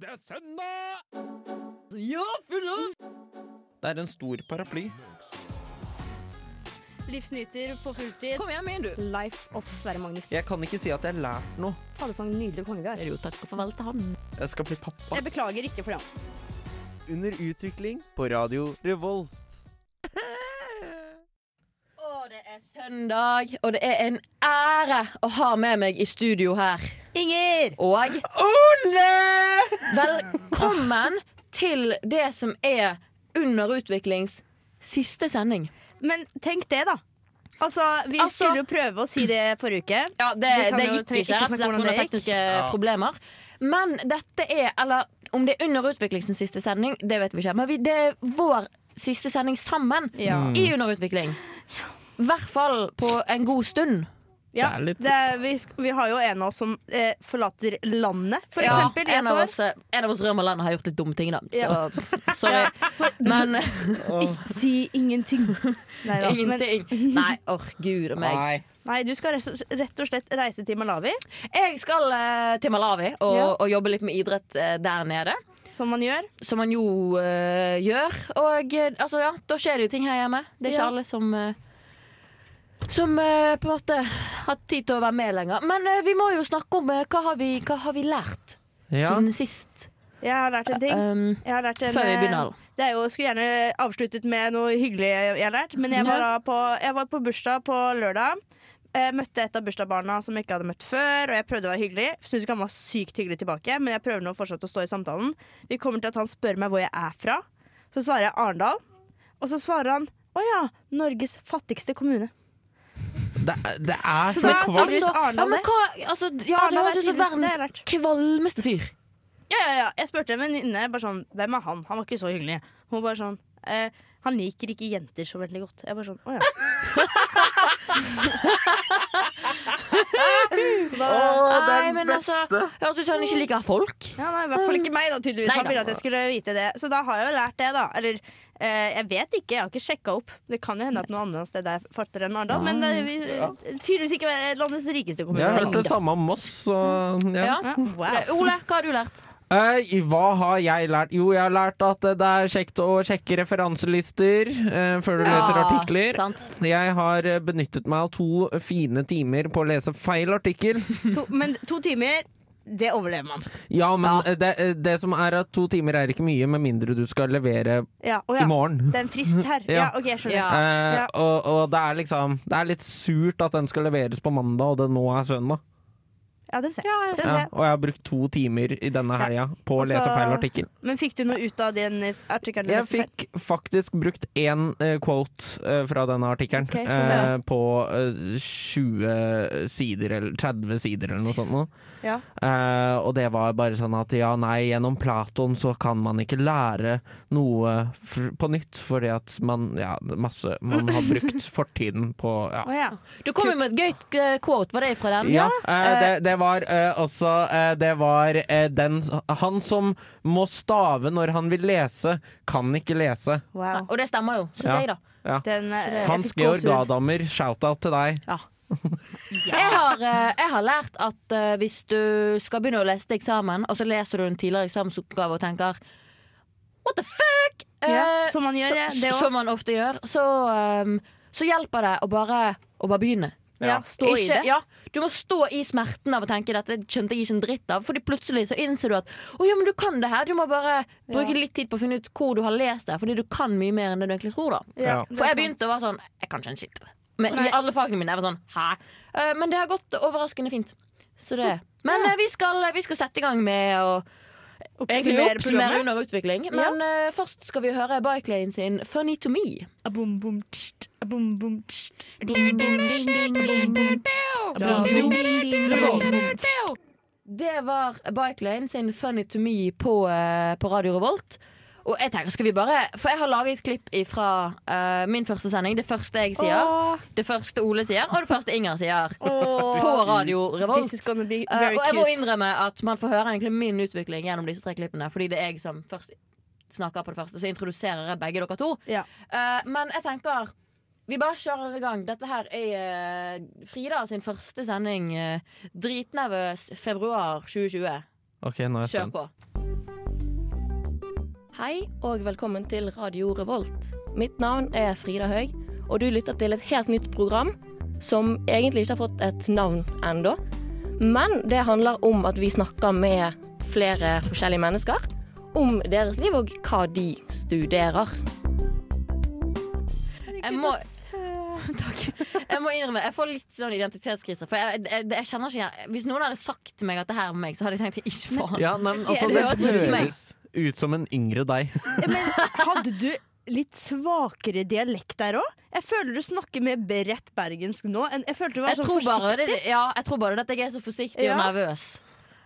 det er søndag! Ja, full av! Det er en stor paraply. Livsnyter på fulltid. Kom igjen, min, du. Life of Sverre Magnus. Jeg kan ikke si at jeg har lært noe. Fader, for en nydelig konge vi har. Jo, takk og farvel til han. Jeg skal bli pappa. Jeg beklager ikke for det. Under utvikling på Radio Revolt. Og det er søndag, og det er en ære å ha med meg i studio her. Inger! Og Ole! velkommen til det som er Under utviklings siste sending. Men tenk det, da. Altså, Vi Altså- skulle jo prøve å si det forrige uke. Ja, det, Du kan det jo gikk tre- ikke, ikke rett og snakke om slett hvordan pga. det gikk. tekniske problemer. Men dette er, eller om det er under utviklingens siste sending, det vet vi ikke. Men vi, det er vår siste sending sammen Ja. i Under utvikling. I hvert fall på en god stund. Ja, Det er litt- det er, vi, sk- vi har jo en av oss som eh, forlater landet, for Ja, eksempel. I en, et av år. oss, en av oss Rømerland har gjort litt dumme ting, da. Så, Ja. sorry. Så Men ikke si ingenting. Nei, da. Men, ingenting. Nei, orr gud og meg. Nei. nei, du skal res- rett og slett reise til Malawi, Jeg skal eh, til Malawi og, Ja. og jobbe litt med idrett eh, der nede. som man gjør. Som man jo eh, gjør. Og eh, altså, ja, da skjer det jo ting her hjemme. Det er ikke Ja. alle som eh, som eh, på en måte har tid til å være med lenger. Men eh, vi må jo snakke om eh, hva, har vi, hva har vi lært Ja. siden sist. Jeg har lært en ting. Um, Jeg har lært en, Før vi begynner. eh, Det er jo, jeg skulle gjerne avsluttet med noe hyggelig jeg har lært. Men jeg var, da på, jeg var på bursdag på lørdag. Jeg møtte et av bursdagsbarna som jeg ikke hadde møtt før. Og jeg prøvde å være hyggelig. Synes ikke han var sykt hyggelig tilbake, men jeg prøver nå fortsatt å stå i samtalen. Vi kommer til at han spør meg hvor jeg er fra. Så svarer jeg Arendal. Og så svarer han å ja, Norges fattigste kommune. Det, er- det er Så så da- kvalmt. altså, ja, Arendal, men hva altså, Ja, det Arendal er høres ut som tidligst, det har jeg verdens lært. kvalmeste fyr. Ja, ja, ja. Jeg spurte en venninne bare sånn Hvem er han? Han var ikke så hyggelig. Hun bare sånn eh, Han liker ikke jenter så veldig godt. Jeg bare sånn Å ja. så da Nei, men altså, Høres ut som han ikke liker folk. ja, nei, I hvert fall ikke meg, da, tydeligvis. Nei Han da. ville at jeg skulle vite det. Så da har jeg jo lært det, da. Eller eh, jeg vet ikke, jeg har ikke sjekka opp. Det kan jo hende at noe annet sted er fattigere enn Arendal, men eh, vi, tydeligvis ikke landets rikeste Jeg kommune. har hørt det samme om Moss, så ja. Ja. Ja, wow. Ole, hva har du lært? Eh, hva har jeg lært? Jo, jeg har lært at eh, det er kjekt å sjekke referanselister eh, før du leser Ja, artikler. sant. Jeg har eh, benyttet meg av to fine timer på å lese feil artikkel. to, men to timer, det overlever man. Ja, men eh, Det, eh, det som er at to timer er ikke mye, med mindre du skal levere Ja, å i ja. morgen. Det er en frist her. Ja. Ja, OK, jeg skjønner. Ja. Eh, ja. og, og det er liksom Det er litt surt at den skal leveres på mandag, og det nå er søndag. Ja, den ser jeg. Den ser Ja, jeg. og jeg har brukt to timer i denne helga på å Og så- lese feil artikkel. Men fikk du noe ut av den artikkelen? du Jeg leste feil? fikk faktisk brukt én eh, quote eh, fra denne artikkelen Ok, sånn, få eh, høre. på eh, 20 sider eller 30 sider eller noe sånt. Nå. Ja. Eh, og det var bare sånn at ja, nei, gjennom Platon så kan man ikke lære noe fr på nytt, fordi at man Ja, masse Man har brukt fortiden på Ja. Å ja. Du kom jo med et gøyt eh, quote. Var det fra den? Ja, eh, det, det var eh, også eh, Det var eh, den Han som må stave når han vil lese, kan ikke lese. Ja, Wow. Og det stemmer jo, syns Ja. jeg, da. Den, eh, jeg Hans fikk Georg gåsehud. Gadamer, shout-out til deg. Jeg har, eh, jeg har lært at eh, hvis du skal begynne å lese til eksamen, og så leser du en tidligere eksamensoppgave og tenker What the fuck?! Eh, Ja, som man gjør, ja, så, det også. som man ofte gjør. Så, eh, så hjelper det å bare, å bare begynne. Ja, stå i Ikke- det. Ja, du må stå i smerten av å tenke dette skjønte jeg ikke en dritt av. Fordi plutselig så innser du at å ja, men du kan det her. Du må bare bruke litt tid på å finne ut hvor du har lest det. Fordi du kan mye mer enn det du egentlig tror. da Ja. det er For jeg sant. begynte å være sånn Jeg kan ikke en shit. Men Nei. I alle fagene mine. Jeg var sånn, Hæ? Eh, Men det har gått overraskende fint. Så det. Men eh, vi, skal, vi skal sette i gang med å egentlig Oppsummere oppsummere programmet. under utvikling. Men eh, først skal vi høre Bike Lane sin 'Funny to Me'. Det var Bike Lane sin 'Funny to Me' på, eh, på Radio Revolt. Og jeg tenker, skal vi bare For jeg har laget et klipp fra min første sending. Det første jeg sier, Åh. det første Ole sier, og det første Inger sier. Åh. På Radio Revolt. This is gonna be Eh, very og jeg må cute. innrømme at man får høre egentlig min utvikling gjennom disse tre klippene. Fordi det er jeg som først snakker på det første, så introduserer jeg begge dere to. Ja. Eh, men jeg tenker vi bare kjører i gang. Dette her er eh, Frida sin første sending. eh, dritnervøs februar 2020. Ok, nå er jeg Kjør spent. på. Hei og velkommen til Radio Revolt. Mitt navn er Frida Høeg, og du lytter til et helt nytt program som egentlig ikke har fått et navn ennå. Men det handler om at vi snakker med flere forskjellige mennesker om deres liv og hva de studerer. Jeg må, takk. Jeg må innrømme, jeg får litt sånn identitetskrise. For jeg, jeg, jeg kjenner ikke igjen Hvis noen hadde sagt til meg at det her er meg, så hadde jeg tenkt ikke faen. Ja, nei, men altså, det det høres ut som meg. høres ut som en yngre deg. Men hadde du litt svakere dialekt der òg? Jeg føler du snakker mer bredt bergensk nå. enn- Jeg følte du var Jeg sånn tror, bare forsiktig. det, ja, jeg tror bare det at jeg er så forsiktig og Ja. nervøs.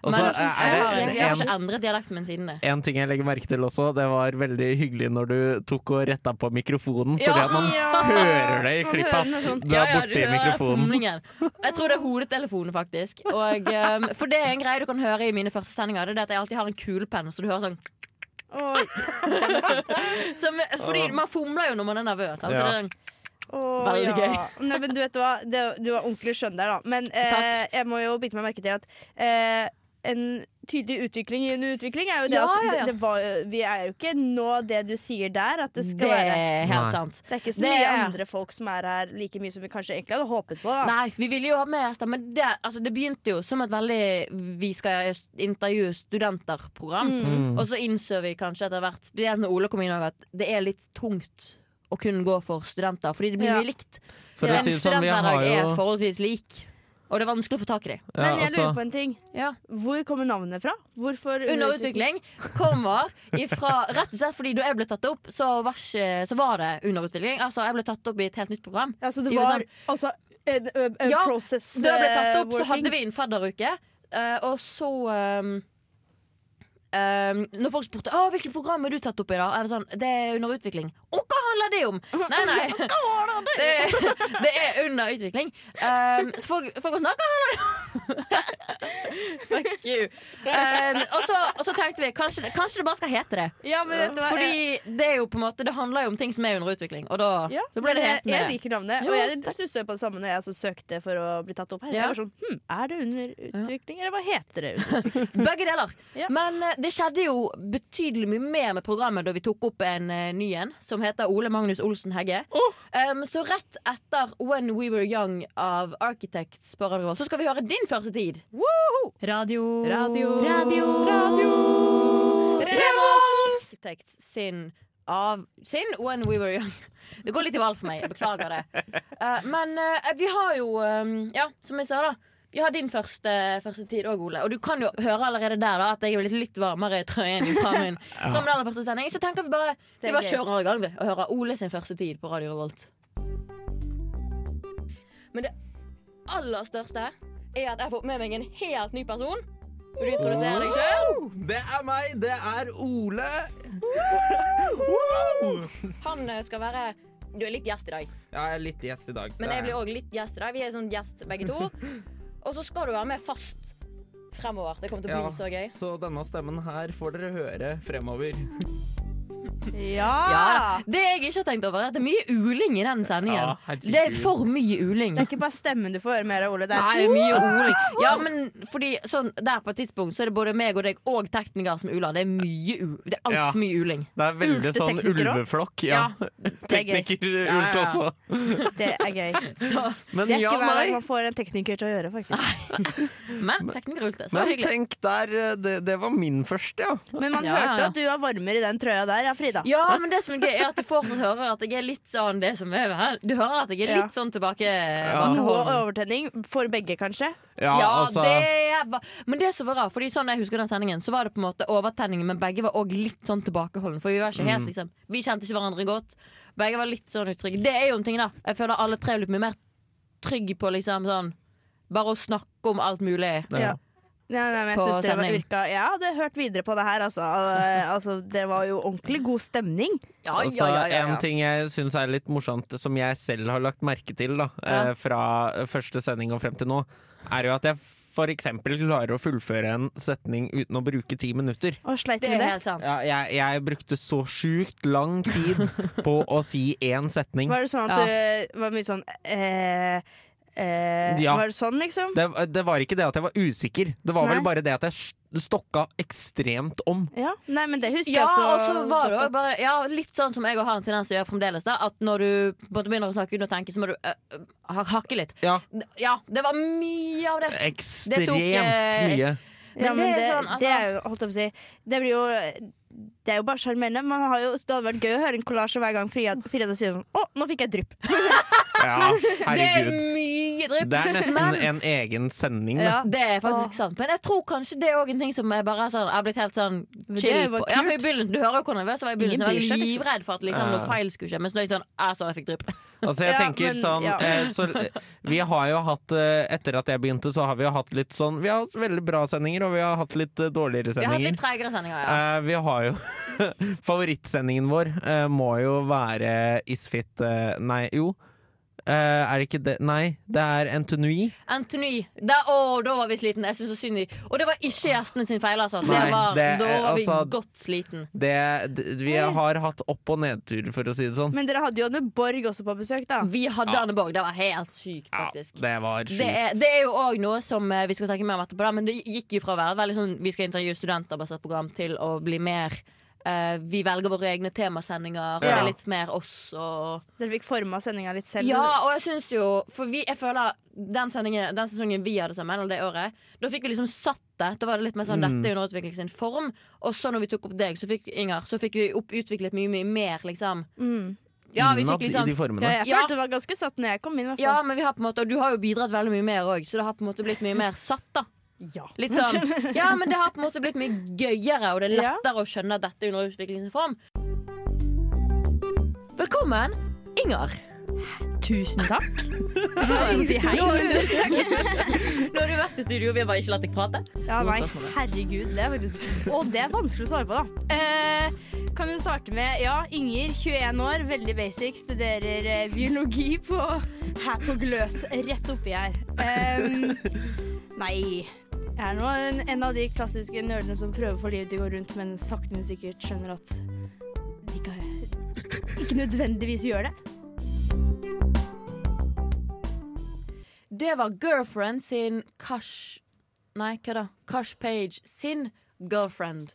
Og Men altså, så eh, jeg, er har, det jeg har en- ikke endret dialekten min siden det. En ting jeg legger merke til også, det var veldig hyggelig når du tok og retta på mikrofonen, fordi Ja, at man ja. hører det i Man klippet hører noe at sånt. du Ja, er ja, du borti hører mikrofonen. fomlingen. Jeg tror det er hodetelefonen, faktisk. Og, ehm, for det er en greie du kan høre i mine første sendinger. Det er det at jeg alltid har en kulepenn, så du hører sånn Oi, som, Fordi man fomler jo når man er nervøs. Altså, Ja. det er sånn, Åh, Veldig ja. gøy. Nei, men du vet hva, det, du var ordentlig skjønn der, da. Men eh, Takk. jeg må jo bite meg merke til at eh, en tydelig utvikling i en utvikling er jo det Ja, ja, at ja. Det, det var, jo- vi er jo ikke nå det du sier der, at det skal det være. er helt Nei. sant. Det er ikke så det mye er- andre folk som er her like mye som vi kanskje egentlig hadde håpet på. Da. Nei, vi ville jo ha med gjester, men det, altså, det begynte jo som et veldig Vi skal intervjue studenter-program. Mm. Og så innså vi kanskje etter hvert, spesielt når Ole kom inn, også, at det er litt tungt å kun gå for studenter. Fordi det blir Ja. mye likt. For å En si det sånn, vi har studenthverdag jo er forholdsvis lik, og det er vanskelig å få tak i dem. ja, Men jeg altså, lurer på en ting. Ja. Hvor kommer navnet fra? Hvorfor Under utvikling kommer ifra Rett og slett fordi da jeg ble tatt opp, så var, ikke, så var det under utvikling. Altså, jeg ble tatt opp i et helt nytt program. Ja, så det Jo, var sånn. altså en, ø, en Ja, process Da jeg ble tatt opp, eh, så hadde working. vi en fadderuke, eh, og så ehm, ehm, når folk spurte Å, hvilket program er du tatt opp i, da? Jeg var sånn, det er under utvikling. Å, hva handler det om? Nei, nei. Det, det er under utvikling. Ehm, så folk, folk var sånn «Å, Hva handler det om? Fuck you. Ehm, og, så, og så tenkte vi kanskje, kanskje det bare skal hete det. Ja, men vet du hva? jeg- Fordi det er jo på en måte Det handler jo om ting som er under utvikling, og da, Ja, da ble det men jeg, hetende. jeg liker navnet. Jo, Og jeg stusset på det samme når jeg altså søkte for å bli tatt opp her. Ja. Jeg var sånn, hm, Er det under utvikling, eller hva heter det? Begge deler. Ja. Men eh, det skjedde jo betydelig mye mer med programmet da vi tok opp en eh, ny en, som heter Ole Magnus Olsen Hegge. Um, så rett etter When We Were Young av Architects på Radio Revolt, så skal vi høre din første tid. Radio. Radio. Radio. Architects sin av sin When We Were Young. Det går litt i valg for meg. Jeg beklager det. Eh, men eh, vi har jo, eh, ja, som jeg sa, da. Vi har din første, første tid òg, Ole. Og du kan jo høre allerede der da at jeg er blitt litt varmere i trøyen fra min, fra min aller første sending. Så tenker vi bare Det vi er bare gøy. kjører i gang vi, og hører Ole sin første tid på Radio Revolt. Men det aller største er at jeg har fått med meg en helt ny person. Vil du introdusere deg sjøl? Det er meg, det er Ole. Han eh, skal være Du er litt gjest i dag, Jeg er litt gjest i dag. men jeg blir òg litt gjest i dag. Vi er sånn gjest begge to. Og så skal du være med fast fremover. Det kommer til å bli så gøy. Så denne stemmen her får dere høre fremover. Ja! Det jeg ikke har tenkt over, er at det er mye uling i den sendingen. Ja, herregud. det er for mye uling. Det er ikke bare stemmen du får høre mer av, Ole. Det er, Nei, det er mye uling. Ja, men fordi sånn der på et tidspunkt så er det både meg og deg og tekniker som uler. Det er mye u... Det er Ja. altfor mye uling. Det er veldig sånn Ulveteknikker også. ulveflokk. Ja. er gøy. Teknikerult Ja, ja. også. det er gøy. Så, Men Det er ja, ikke hver dag nei. man får en tekniker til å gjøre, faktisk. men tekniker ulte, så det var Men hyggelig. tenk der, eh, det, det var min første, ja. Men man Ja, ja, hørte ja. at du var varmere i den trøya der, ja, Frida. Ja, men det som er gøy, er at du fortsatt hører at jeg er litt sånn det som er her. Du hører at jeg er Ja. litt sånn tilbake. Noe bakover. overtenning for begge, kanskje. Ja, Ja, altså. det var Men det som var rart, Fordi sånn jeg husker den sendingen, så var det på en måte overtenning, men begge var òg litt sånn tilbakeholden. For vi var ikke Mm. helt liksom Vi kjente ikke hverandre godt. Begge var litt sånn utrygge. Det er jo en ting, da. Jeg føler alle tre er blitt mye mer trygge på liksom sånn Bare å snakke om alt mulig. Ja. Ja. Ja, nei, men jeg På synes dere var- sending. virka Jeg hadde hørt videre på det her, altså. Eh, altså det var jo ordentlig god stemning. Altså, En ting jeg syns er litt morsomt, som jeg selv har lagt merke til da, Ja. eh, fra første sending og frem til nå, er jo at jeg f.eks. klarer å fullføre en setning uten å bruke ti minutter. Og sleit Det med er det. helt sant. Ja, jeg, jeg brukte så sjukt lang tid på å si én setning. Var det sånn at du var mye sånn eh, eh, Ja. Var det sånn, liksom? Det, det var ikke det at jeg var usikker, det var Nei. vel bare det at jeg s- stokka ekstremt om. Ja. Nei, men det husker Ja, jeg og så så var det godt også at- bare, ja, litt sånn som jeg og har en tendens til å gjøre fremdeles. Da, at når du på en måte begynner å snakke uten å tenke, så må du øh, øh, ha- hakke litt. Ja, Ja, det var mye av det. ekstremt tok, eh, mye. Ja, Men men det er det, sånn, altså- det er jo holdt jeg på å si Det blir jo det er jo bare sjarmerende. Man har jo- Det hadde vært gøy å høre en kollasj hver gang Frida Frida sier sånn Å, nå fikk jeg drypp. Ja, Det er herregud. mye drypp. Det er nesten Men- en egen sending, da. Ja. Det er faktisk sant. Men jeg tror kanskje det er også en ting som jeg bare er sånn, jeg har blitt helt sånn det chill var på. kult. Ja, for i begynnelsen, Du hører jo hvor nervøs jeg var i begynnelsen. Ingen bryr Jeg seg, var liksom. livredd for at liksom, Ja. noe feil skulle skje. Men så er jeg sånn Jeg så jeg fikk drypp. Altså jeg Ja, tenker men- sånn ja. eh, så, Vi har jo hatt eh, Etter at jeg begynte så har vi jo hatt litt sånn Vi har hatt veldig bra sendinger og vi har hatt litt eh, dårligere Vi har hatt sendinger litt treigere sendinger, ja. Eh, vi har jo Favorittsendingen vår eh, må jo være Isfit eh, Nei, jo Eh, Er det ikke det? Nei, det er Entenui Anthony. Da, å, da var vi sliten Jeg syns så synd i Og det var ikke gjestene sin feil, altså. Det Nei, var, det- da var vi altså- godt sliten. det, d- Vi har hatt opp- og nedtur for å si det sånn Men dere hadde jo Anne Borg også på besøk, da. Vi hadde Anne Borg. Det var helt sykt, faktisk. det var Det sjukt er, det er jo òg noe som eh, vi skal snakke mer om etterpå, da, men det gikk jo fra å være veldig sånn vi skal intervjue studenter basert program, til å bli mer eh, vi velger våre egne temasendinger, og det Ja. er litt mer oss og Dere fikk forma sendinga litt selv. Ja, og jeg syns jo For vi, jeg føler den, sendingen, den sesongen vi hadde sammen, eller det året, da fikk vi liksom satt det. Da var det litt mer sånn Mm. dette er underutvikling sin form. Og så når vi tok opp deg, så fikk, Inger, så fikk vi opp, utviklet mye, mye mer, liksom. Mm. Ja, vi Innad fikk liksom i de formene Ja, jeg Ja. følte det var ganske satt når jeg kom inn. i hvert fall. Ja, men vi har på en måte Og du har jo bidratt veldig mye mer òg, så det har på en måte blitt mye mer satt, da. Ja. Litt sånn, ja, men det har på en måte blitt mye gøyere, og det er lettere å skjønne at dette er under utviklingsform. Velkommen, Inger. Tusen takk. Jeg må bare si hei. Nå har du, Nå har du vært i studio, og vi har bare ikke latt deg prate. Ja, nei, Godt spørsmål. herregud. Det er faktisk Og det er vanskelig å svare på, da. Eh, kan du starte med Ja, Inger, 21 år, veldig basic, studerer eh, biologi på her på Gløs, rett oppi her. Em, nei. Jeg er nå en, en av de klassiske nerdene som prøver å få livet til å gå rundt, men sakte, men sikkert skjønner at de ikke, ikke nødvendigvis gjør det. Det var girlfriend sin Kash Nei, hva da? Kash Page sin girlfriend.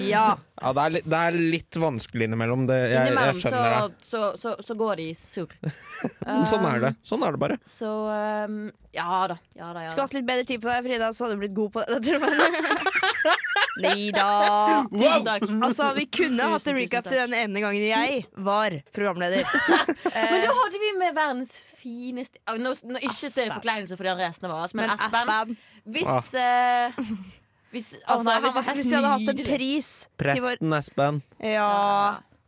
Ja. ja, det, er litt, det er litt vanskelig innimellom det, jeg, Innimellom jeg skjønner så, så, så, så går de i surr. det Sånn er det, sånn er det bare Så um, ja da. Ja da, ja Skulle da. hatt litt bedre tid på deg, Frida, så hadde du blitt god på det. tror jeg. Nei da. Tusen takk. Altså, Vi kunne hatt en Tusen, tusen recap takk. til den ene gangen jeg var programleder. Eh. Men da hadde vi med verdens fineste Å, nå, nå, Ikke til forkleinelse for de andre gjestene våre, men, Espen. Hvis, eh, hvis, Altså, han var hvis, vi- helt hvis vi hadde hatt en nydelig. pris til vår Presten Espen Ja.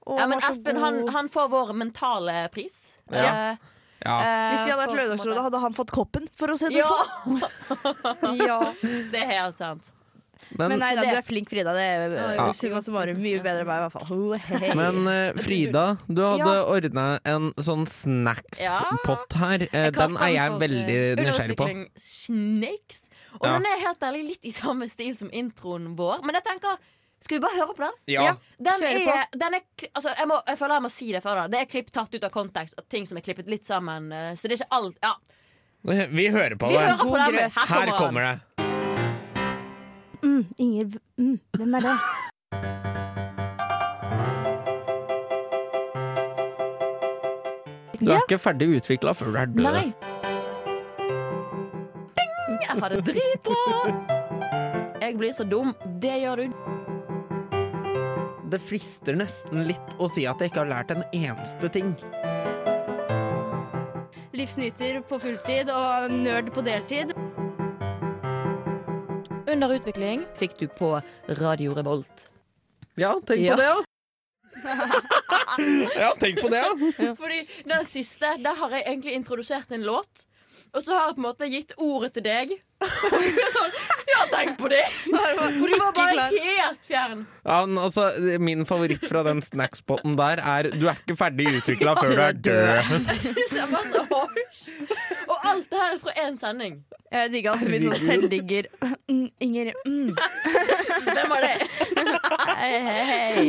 Å, Ja, men var så Espen god. han, han får vår mentale pris. Ja. Eh, ja. eh, Hvis vi hadde for- vært Lørdagsrådet, hadde han fått koppen, for å si det Ja, sånn. Ja. det er helt sant. Men nei da, det- du er flink, Frida. Det eh, er Ja. summa summarum mye bedre enn meg, i hvert fall. Ho, hei. Men eh, Frida, du hadde ordnet ordna en sånn snackspott her. Eh, den Jeg er kalte han jeg for, veldig eh, nysgjerrig på. underutvikling Snakes. Og Ja. den er helt ærlig litt i samme stil som introen vår. Men jeg tenker, skal vi bare høre på den? Ja. Den Kjøre er, den er kli- altså, jeg, må, jeg føler jeg må si det før. da Det er klipp tatt ut av kontekst, og ting som er klippet litt sammen. eh, Så det er ikke alt ja. Vi hører på Vi hører det. på den. men Her kommer det. Mm, Inger mm, Hvem er det? Du er ikke ferdig utvikla før du er død. Nei. Ding! Jeg har det dritbra! Jeg blir så dum. Det gjør du. Det frister nesten litt å si at jeg ikke har lært en eneste ting. Livsnyter på fulltid og nerd på deltid. Under utvikling fikk du på Radio Revolt. Ja, tenk Ja. på det, ja. ja, tenk på det, ja. Fordi den siste, der har jeg egentlig introdusert en låt. Og så har jeg på en måte gitt ordet til deg. sånn, ja, tenk på det! For du var bare helt fjern. ja men altså, min favoritt fra den snackspotten der er du er ikke ferdig utvikla før du er død. Så jeg bare så, «Oi». Og alt det her er fra én sending. Jeg digga altså mye sånn selvdigger. Mm, Inger mm. Hvem var det? Hei, hei, hei.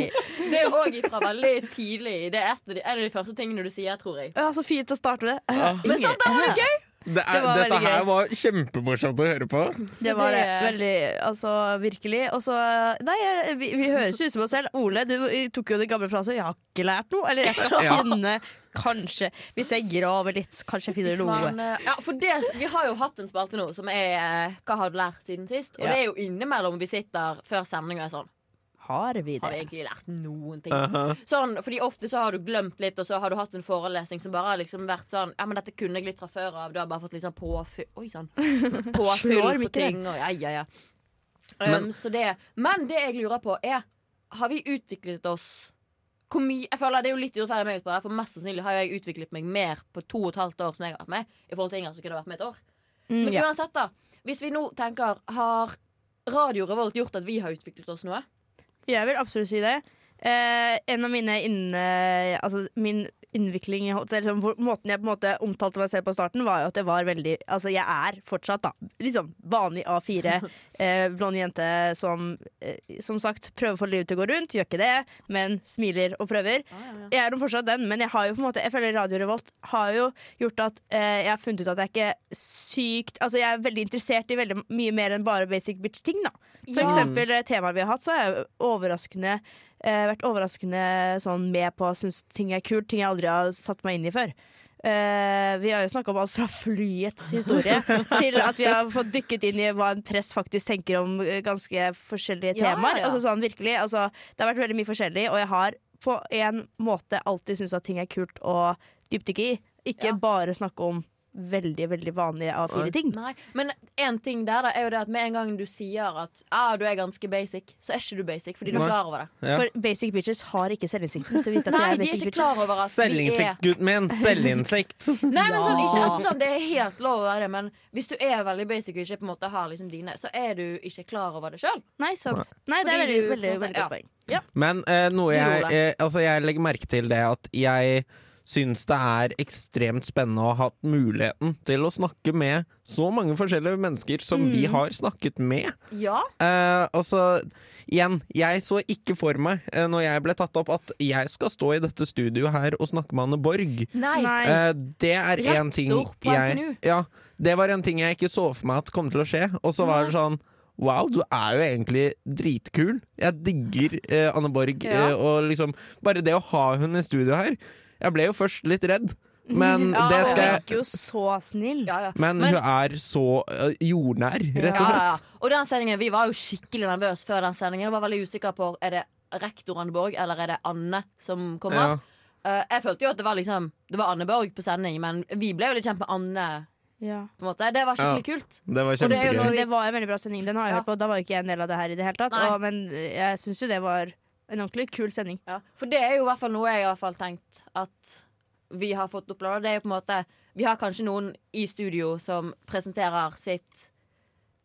Det er òg fra veldig tidlig. Det er et av de, en av de første tingene du sier, tror jeg. Ja, så fint å starte med det. Ja. Men sant, det er gøy! Det er, Det var dette veldig her gøy. var kjempemorsomt å høre på. Det var det. det- Veldig, altså virkelig. Og så Nei, jeg- vi, vi høres jo ut som oss selv. Ole, du eh, tok jo det gamle fra oss, og jeg har ikke lært noe. Eller jeg skal Ja. finne Kanskje. Hvis jeg graver litt, så kanskje jeg finner Men, noe. eh, ja, for det, vi har jo hatt en spalte nå som er eh, 'Hva har du lært siden sist?' Og Ja. det er jo innimellom vi sitter før sending og er sånn Har vi Har vi det? egentlig lært noen ting? Sånn, fordi ofte så har du glemt litt, og så har du hatt en forelesning som bare har liksom vært sånn Ja, men dette kunne jeg litt fra før av. Du har bare fått litt sånn påfyll Oi sann. Slår Påfyll på mikken. ting og ja, ja, ja. Um, Men- så det, men det jeg lurer på, er Har vi utviklet oss hvor mye, jeg føler Det er jo litt urettferdig av meg, å svare, for mest sannsynlig har jeg utviklet meg mer på to og et halvt år som jeg har vært med, i forhold til Inger som kunne vært med et år. Mm, Men ja. uansett, da. Hvis vi nå tenker Har Radio Revolt gjort at vi har utviklet oss noe? Jeg vil absolutt si det. Eh, en av mine inne... Altså min innvikling i hotell, liksom, hvor, Måten jeg på en måte omtalte meg selv på starten, var jo at jeg var veldig Altså, jeg er fortsatt, da, liksom vanlig A4. Eh, blond jente som eh, som sagt prøver å få livet til å gå rundt. Gjør ikke det, men smiler og prøver. Jeg er jo fortsatt den, men jeg har jo på en måte Jeg føler Radio Revolt har jo gjort at eh, jeg har funnet ut at jeg ikke er sykt Altså jeg er veldig interessert i veldig mye mer enn bare basic bitch-ting, da. For Ja. eksempel eh, temaer vi har hatt, så har jeg jo overraskende eh, vært overraskende sånn med på å synes ting er kult, ting jeg aldri har satt meg inn i før. Eh, vi har jo snakka om alt fra flyets historie til at vi har fått dykket inn i hva en prest faktisk tenker om eh, ganske forskjellige Ja, temaer. ja. Altså sånn virkelig, altså, Det har vært veldig mye forskjellig, og jeg har på en måte alltid syntes at ting er kult å dypdykke i. Ikke Ja. bare snakke om veldig, veldig vanlige A4-ting. Nei, Men én ting der da, er jo det at med en gang du sier at ah, du er ganske basic, så er ikke du basic. Fordi du Nei. er klar over det. Ja. For basic bitches har ikke selvinnsikten til å vite at Nei, de de er er basic ikke bitches. klar over at vi er Selvinnsikt, gutten min. Selvinnsikt. Nei, men sånn, ikke, Ja. altså, sånn, Det er helt lov å være det, men hvis du er veldig basic og ikke på en måte har liksom dine, så er du ikke klar over det sjøl. Nei, sant. Nei, det er Fordi veldig, du- veldig, veldig ja. godt poeng. Ja. Men eh, noe jeg, Gjorde det. eh, altså jeg legger merke til det at jeg syns det er ekstremt spennende å ha hatt muligheten til å snakke med så mange forskjellige mennesker som Mm. vi har snakket med. Ja. Eh, altså, igjen, jeg så ikke for meg eh, når jeg ble tatt opp at jeg skal stå i dette studioet her og snakke med Anne Borg. Nei. Nei. Eh, det er en ting Rektor på jeg NTNU. ja, Det var en ting jeg ikke så for meg at kom til å skje. Og så var det sånn Wow, du er jo egentlig dritkul. Jeg digger eh, Anne Borg. Eh, Ja. og liksom Bare det å ha hun i studio her Jeg ble jo først litt redd, men Ja, det og skal Hun jeg virker jo så snill. Ja, ja. men, Men- hun er så eh, jordnær, rett og Ja, ja, slett. ja. Og den sendingen, Vi var jo skikkelig nervøse før den sendingen. Jeg var veldig usikker på er det rektor Anne Borg eller er det Anne som kommer. Ja. Eh, jeg følte jo at det var liksom Det var Anne Borg på sending, men vi ble jo litt kjent med Anne. Ja. På en måte. Det var skikkelig kult. Det var Og det er jo kjempegøy. Men det var en veldig bra sending. Den har jeg Ja. hørt på. Da var jo ikke jeg en del av det her i det hele tatt. Nei. Og, men eh, jeg syns jo det var en ordentlig kul sending. Ja. For det er jo i hvert fall noe jeg har i hvert fall tenkt at vi har fått oppleve. Det er jo på en måte Vi har kanskje noen i studio som presenterer sitt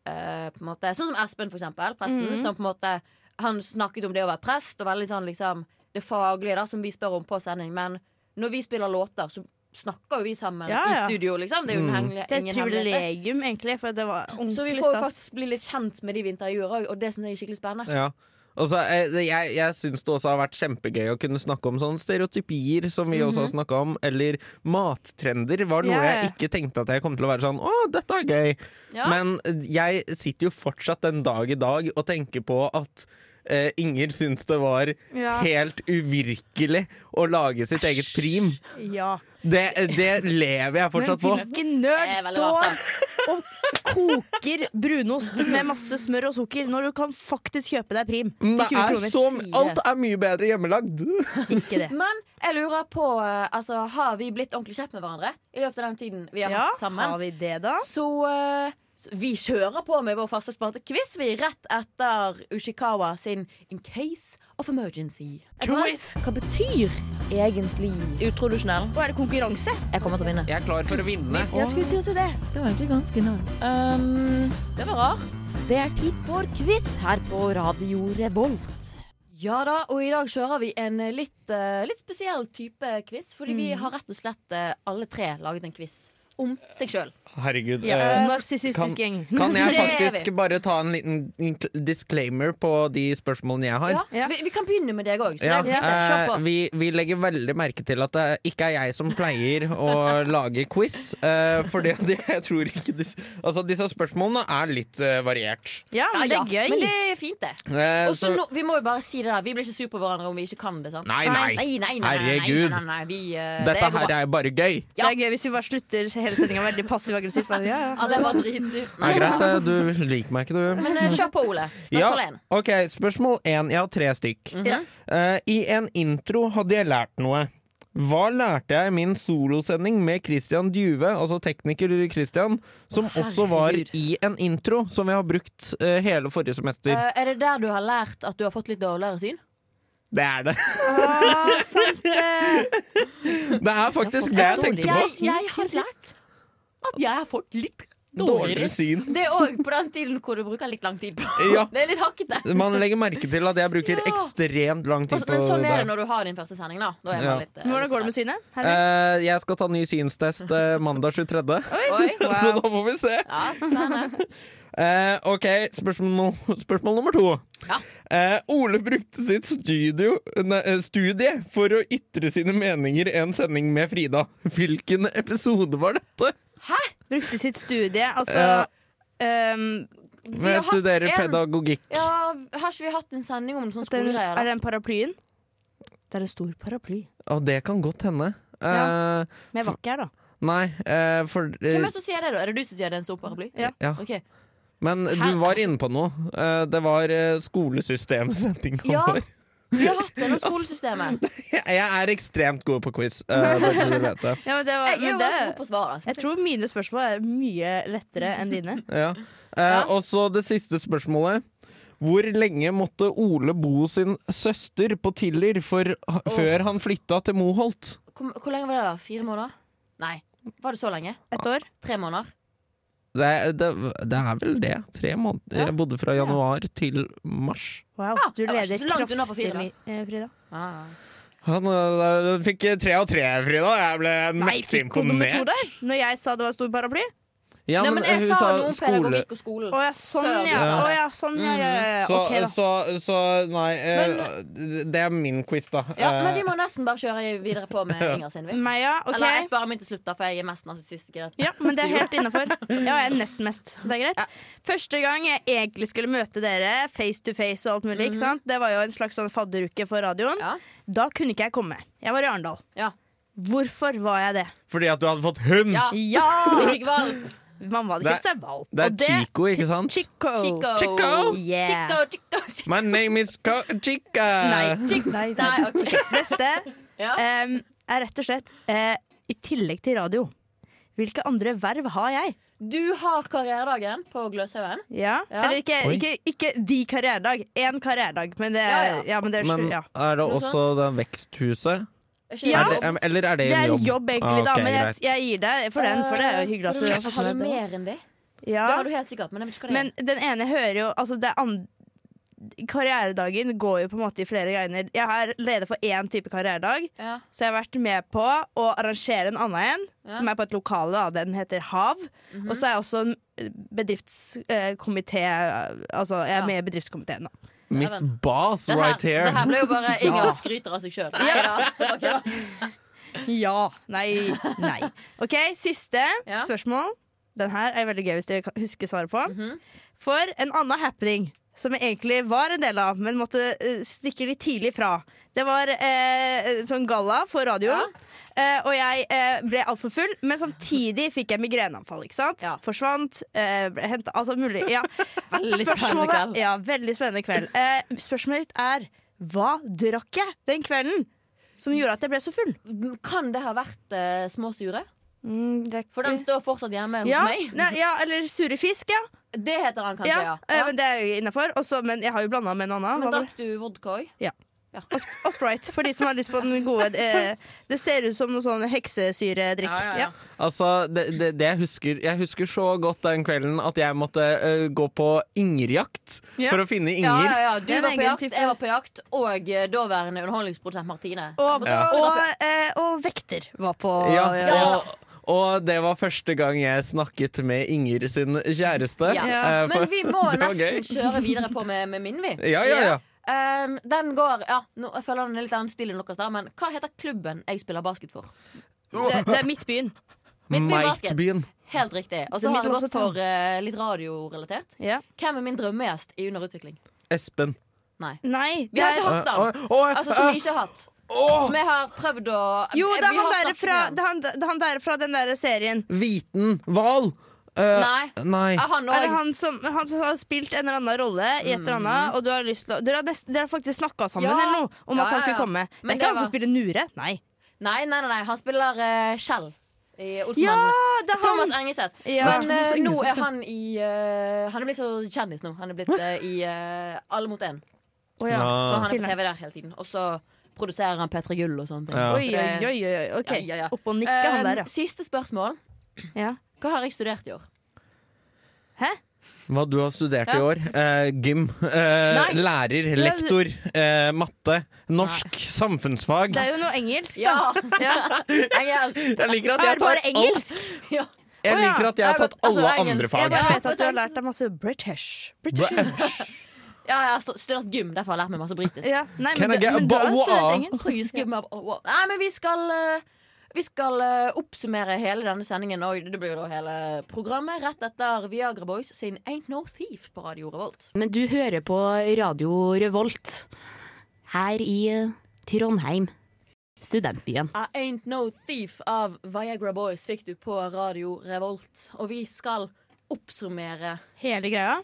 eh, på en måte, Sånn som Espen, for eksempel. Presten. Mhm. Som på en måte Han snakket om det å være prest, og veldig sånn liksom det faglige da, som vi spør om på sending. Men når vi spiller låter, så snakker jo vi sammen Ja, ja. Mm. i studio, liksom. Det er jo en hemmelig- Det er ingen et hemmelighet. privilegium, egentlig, for det var Så vi ordentlig får jo stas. faktisk bli litt kjent med de vi intervjuer òg, og det syns jeg er skikkelig spennende. Ja. Og så, eh, det- jeg jeg syns det også har vært kjempegøy å kunne snakke om sånne stereotypier som vi også har snakka om, eller mattrender var noe Mhm. Ja, ja. jeg ikke tenkte at jeg kom til å være sånn Å, dette er gøy! Ja. Men eh, jeg sitter jo fortsatt den dag i dag og tenker på at eh, Inger syns det var Ja. helt uvirkelig å lage sitt eget prim. Ja. Det, eh, det lever jeg Men fortsatt på. hvilken nerd Det er veldig rart, står og koker brunost med masse smør og sukker når du kan faktisk kjøpe deg prim til Det 20 er kroner? så, alt er mye bedre hjemmelagd. Ikke det. Men jeg lurer på eh, altså, Har vi blitt ordentlig kjent med hverandre i løpet av den tiden vi har Ja, vært sammen? har vi det, da? Så eh, så vi kjører på med vår faste spalte quiz, vi, rett etter Ushikawa sin In Case of Emergency. Quiz! Hva betyr egentlig utrodusjonell? Og er det konkurranse? Jeg kommer til å vinne. Jeg er klar for å vinne. Jeg skulle til å si det. Det var egentlig ganske nært. Um, det var rart. Det er tid for quiz her på Radio Revolt. Ja da, og i dag kjører vi en litt, eh, litt spesiell type quiz. Fordi vi har rett og slett eh, alle tre laget en quiz om seg sjøl. Herregud. Ja. eh, kan, Narsissistisk gjeng. kan jeg Det er vi. faktisk bare ta en liten int- disclaimer på de spørsmålene jeg har? Ja. Vi, vi kan begynne med deg òg. Ja, Kjør eh, på. vi, vi legger veldig merke til at det ikke er jeg som pleier å lage quiz. Uh, fordi at jeg tror ikke disse, altså disse spørsmålene er litt eh, variert. Ja, men Ja, det er ja, Men gøy. det er fint, det. Eh, Og så så- nå- vi må jo bare si det der. Vi blir ikke sur på hverandre om vi ikke kan det. sant? Nei, nei. nei, nei, nei, nei, Herregud. Nei, nei, nei, vi, eh, det dette går her bra. er bare gøy. Det er gøy hvis vi bare slutter hele sendinga veldig passiv-aggressivt. bare, Ja, ja. Alle er bare dritsur. Er greit, eh, du liker meg ikke, du. Men eh, kjør på, Ole. Spørsmål Mhm. én. ok, spørsmål én. Jeg har tre stykk. Ja. Eh, I en intro hadde jeg lært noe. Hva lærte jeg i min solosending med Christian Djuve, altså tekniker Christian, som også var herregud. i en intro som vi har brukt eh, hele forrige semester? Eh, er det der du har lært at du har fått litt dårligere syn? det er det. Ah, sant det. Det er faktisk det jeg tenkte på. Jeg, jeg har lært at jeg har fått litt Dårligere dårligere syn. Det er òg på den tiden hvor du bruker litt lang tid på Ja. Det er litt hakkete. Man legger merke til at jeg bruker Ja. ekstremt lang tid Og så- på Men sånn er det det. når du har din første sending, da. da er Ja. man litt, eh, Men Hvordan går det med synet? Herregud. Eh, jeg skal ta ny synstest eh, mandag 23., Oi. Altså, så da må vi se. Ja, spennende. Eh, ok, spørsmål, no- spørsmål nummer to. Ja. Eh, Ole brukte sitt studio, nei, eh, studie for å ytre sine meninger i en sending med Frida. Hvilken episode var dette? Brukte sitt studie, Ja. altså ehm, har Jeg hatt studerer en- pedagogikk. ja, har ikke vi hatt en sending om sånne den, skolegreier? da? Er den paraplyen? Det er en stor paraply. Og det kan godt hende. Eh, Ja. Men jeg var ikke her, da. Nei, eh, for Hvem er eh, det som sier det, da? Er det du som sier det er en stor paraply? Ja. Ja. Ok. Men Hæ? du var inne på noe. Eh, det var eh, skolesystemsendinga Ja. vår. Vi har hatt det om skolesystemet. Jeg Altså, er ekstremt god på quiz, eh, bare så du vet det. Ja, men det var, Jeg er jo men det, ganske god på altså. å svare. jeg tror mine spørsmål er mye lettere enn dine. Ja. Eh, Ja. Og så det siste spørsmålet. Hvor lenge måtte Ole bo sin søster på Tiller for, før han flytta til Moholt? Hvor, hvor lenge var det? da? Fire måneder? Nei. Var det så lenge? Et år. Tre måneder? Det, det, det er vel det. Tre måneder. Ja. Jeg bodde fra januar til mars. Wow, du jeg var ikke leder så langt unna på kraftig, fire, da. Mi- eh, Frida. Ah. Han eh, fikk tre av tre, Frida. Jeg ble Nei, mektig fikk hun nummer to imponert. der? Når jeg sa det var en stor paraply? Ja, Nei, men men jeg hun sa sa noe om skole. pedagogikk Eh, og skolen. Å ja, sånn Før du ja. sa Å det. ja, sånn ja. ja, ja. Så, OK, da. så, så nei eh, Det er min quiz, da. Ja, Eh, men vi må nesten bare kjøre videre på med Inger sin. Vi. Meia, Eller jeg Mm, OK. sparer min til slutt, da, for jeg er mest narsissistisk i dette. Ja, men det er helt innafor. Ja, jeg er nest mest, så det er greit. Første gang jeg egentlig skulle møte dere face to face og alt mulig, ikke sant? det var jo en slags sånn fadderuke for Mhm. radioen. Ja. Da kunne ikke jeg komme. Jeg var i Arendal. Ja. Hvorfor var jeg det? Eh, Fordi at du hadde fått hund! Ja. Ja! Vi fikk valg. Mamma hadde Det er- kjøpt seg valp. Det er og Chico, ikke sant? Chico. Chico. Chico. Yeah. Chico, chico, chico. My name is Co Chica! Nei, Chico. Nei, Nei, OK. Neste Ja. em, er rett og slett eh, i tillegg til radio. Hvilke andre verv har jeg? Du har karrieredagen på Gløshaugen. Ja. Ja. Eller ikke, Oi. ikke, ikke de karrieredag. Én karrieredag, men det, Ja, ja. ja, men det er Men ja. er det Noe også det veksthuset? Er ikke det Ja. Er det, em, eller er det Det en er jobb? en jobb, Ah, egentlig, da, ok, men jeg, greit. jeg gir deg for den, for det er jo hyggelig at du har har fått med deg det. mer enn det. Det Ja. har du helt sikkert, men jeg vet ikke hva det er. Men den ene hører jo Altså, det andre Karrieredagen går jo på en måte i flere greiner. Jeg er leder for én type karrieredag, Ja. så jeg har vært med på å arrangere en annen en, Ja. Mhm. som er på et lokale. Da. Den heter Hav. Og så er jeg også bedriftskomité Altså, jeg er Ja. med i bedriftskomiteen, da. Miss Boss Det her, right here! det her ble jo bare Inger skryter av seg sjøl. Ja. Nei. Nei. OK, siste Ja. spørsmål. Den her er veldig gøy hvis dere kan- husker svaret på. Mhm. For en annen happening som jeg egentlig var en del av, men måtte eh, stikke litt tidlig fra. Det var eh, sånn galla for radioen. Eh, og jeg eh, ble altfor full, men samtidig fikk jeg migreneanfall. ikke sant? Ja. Forsvant. Eh, ble hentet, altså mulig. Ja. Veldig spennende Spørsmålet- kveld. Ja, veldig spennende kveld. Eh, spørsmålet ditt er hva drakk jeg den kvelden som gjorde at jeg ble så full? Kan det ha vært eh, små sure? Mm, det er For den står fortsatt hjemme hos ja, meg. Nei, ja, eller sure fisk, ja. Det heter han kanskje, ja. ja. eh, Men det er jo innafor. Men jeg har jo blanda med en Men annen. Hva var det? drakk du vodka òg? Og, sp- og Sprite, for de som har lyst på den gode. Eh, det ser ut som noe sånn heksesyredrikk. Ja, ja, ja. Altså, det, det, det jeg, husker, jeg husker så godt den kvelden at jeg måtte eh, gå på ingerjakt Ja. for å finne Ja, ja, inger. ja. Du Det er en var på egen jakt, type. jeg var på jakt, og eh, daværende underholdningsprodusent Martine. Og, Ja. og, eh, og vekter var på Ja, ja. Og, Og det var første gang jeg snakket med Inger sin kjæreste. Ja. Eh, for- Men vi må det var nesten gøy. kjøre videre på med, med min, vi. Ja, ja, ja. Ehm, den går ja, nå, Jeg føler den er litt annen stil enn deres, da, men hva heter klubben jeg spiller basket for? Det, det er Midtbyen. Midtbyen Basket. Mightbyen. Helt riktig. Og så Den har jeg middels gått og for eh, litt radiorelatert. Ja. Hvem er min drømmegjest i Under utvikling? Espen. Nei. Nei. Vi har sånn- ikke det er- hatt Å, navn. å, å, Altså, som eh, vi ikke har hatt. å, Som jeg har prøvd å jo, det er vi har han sånn der snakket fra, med det er han, det er han der fra den der serien. Hviten hval. Eh, Nei. nei. Er han Er det òg? han som, han som har spilt en eller annen rolle i et eller annet, og du har lyst til å Dere har, nest, dere har faktisk snakka sammen Mm. Ja. eller noe om Ja, at han ja, skulle ja. komme. Det er Men ikke det han var- som spiller Nure. Nei. Nei, nei, nei, nei. Han spiller eh, Kjell i Ja, Olsenmannen. det er han! Thomas Engeseth. Ja. Men eh, nå er han i eh, Han er blitt så kjendis nå. Han er blitt eh, i eh, Alle mot én. Å, ja. Så Ah. han er på Filmen. TV der hele tiden. Og så produserer han P3 Gull og sånne ting. Ja. Oi, oi, oi. oi. OK. Ja, ja, ja. Opp og nikke, han Eh, der, Siste spørsmål. ja. ja. Hva har jeg studert i år? Hva du har studert i Ja. år? Eh, gym. Eh, Nei. lærer. Lektor. Eh, matte. Norsk. Samfunnsfag. Det er jo noe engelsk, da. Ja! Engelsk. Jeg liker at Er jeg det bare tar alt. engelsk? Ja. Jeg Å, ja. liker at jeg har Jeg har tatt gått- altså, alle engelsk. andre Jeg fag. bare altså, vet at du har lært deg masse British. British. ja, jeg har stu- studert gym. Derfor har jeg lært meg masse britisk. Ja. Nei, Can I men, du- get a men du har boa? studert engelsk. Please give me a- oh, wow. Nei, men vi skal eh, vi skal eh, oppsummere hele denne sendingen og det blir jo da hele programmet rett etter Viagra Boys sin Ain't No Thief på Radio Revolt. Men du hører på Radio Revolt her i eh, Trondheim, studentbyen. I Ah, Ain't No Thief av Viagra Boys fikk du på Radio Revolt. Og vi skal oppsummere Hele greia.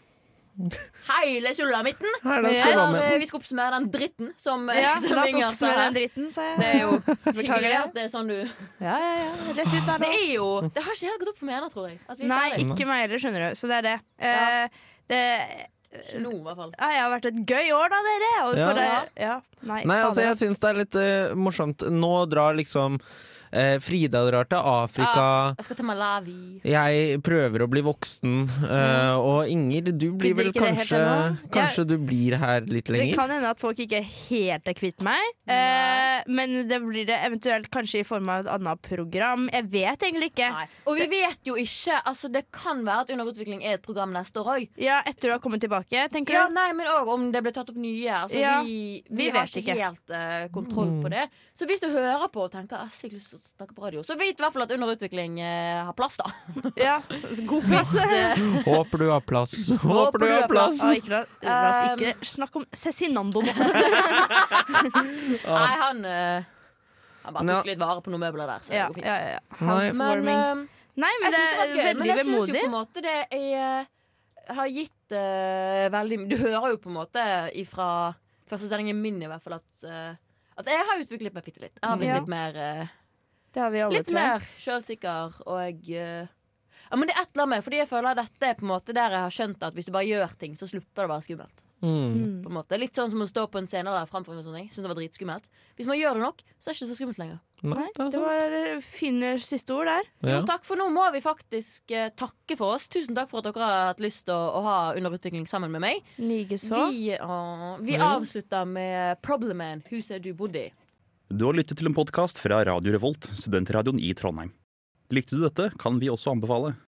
hele sulamitten. Her er det Eller, eh, sulamitten. vi skal oppsummere den dritten som, eh, Ja, som la oss Inger sa. oppsummere her. den dritten, sa Det jeg. er jo Beklager hyggelig det. at det er sånn du Ja, ja, ja. Rett ut Det der, da. er jo Det har ikke helt gått opp for meg ennå, tror jeg. At vi er Nei, ferdig. ikke meg heller, skjønner du. Så det er det. Ja. Eh, det Ikke nå, i hvert fall. ja, jeg har vært et gøy år, da, dere. Og Ja. for det, ja. Nei, Nei, altså, fader. jeg syns det er litt eh, morsomt. Nå drar liksom eh, Frida drar til Afrika. Jeg skal til Malawi. Jeg prøver å bli voksen, eh, og Inger, du blir Gidder vel Mm. ikke det helt kanskje ennå. Kanskje du blir her litt det lenger? kan hende at folk ikke helt er kvitt meg, eh, men det blir det eventuelt kanskje i form av et annet program. Jeg vet egentlig ikke. Nei. Eh, Og vi vet jo ikke altså Det kan være at Underutvikling er et program neste år òg. Ja, Etter du har kommet tilbake, tenker Ja, du? nei, men òg om det blir tatt opp nye. Altså, Ja, vi, vi, vi har vet ikke, ikke. helt eh, kontroll på det. Så hvis du hører på og tenker «Ah, jeg har ikke lyst til å snakke på radio, så vit i hvert fall at Underutvikling eh, har plass, da. Ja, så- God plass. Håper du har plass. Håper du har plass! Ah, ikke, la, Eh, la oss ikke snakke om Cezinando nå. Nei, han eh, Han bare Nå. tok litt vare på noen møbler der, så Ja, det går fint. ja, ja. Nei. Men Housewarming. eh, Nei, men det jeg er synes det var gøy, men veldig jeg synes vemodig. jo på en måte det er, har gitt eh, veldig Du hører jo på en måte ifra første sendingen min i hvert fall at, eh, at jeg har utviklet meg bitte litt. Jeg har blitt Ja. litt mer, eh, Det har vi alle, litt tror jeg. mer sjølsikker og eh, ja, men det er et eller annet med, fordi jeg føler at dette er på en måte der jeg har skjønt at hvis du bare gjør ting, så slutter det å være skummelt. Mm. På en måte. Litt sånn som å stå på en scene der framfor noe sånt. Jeg synes det var dritskummelt. Hvis man gjør det nok, så er det ikke så skummelt lenger. Nei, Nei, det er sant. det var eh, fine siste ord der. Jo, Ja. takk, for nå må vi faktisk eh, takke for oss. Tusen takk for at dere har hatt lyst til å, å ha underutvikling sammen med meg. Likeså. Vi, å, vi Ja. avslutter med Problem Man, huset du bodde i. Du har lyttet til en podkast fra Radio Revolt, studentradioen i Trondheim. Likte du dette, kan vi også anbefale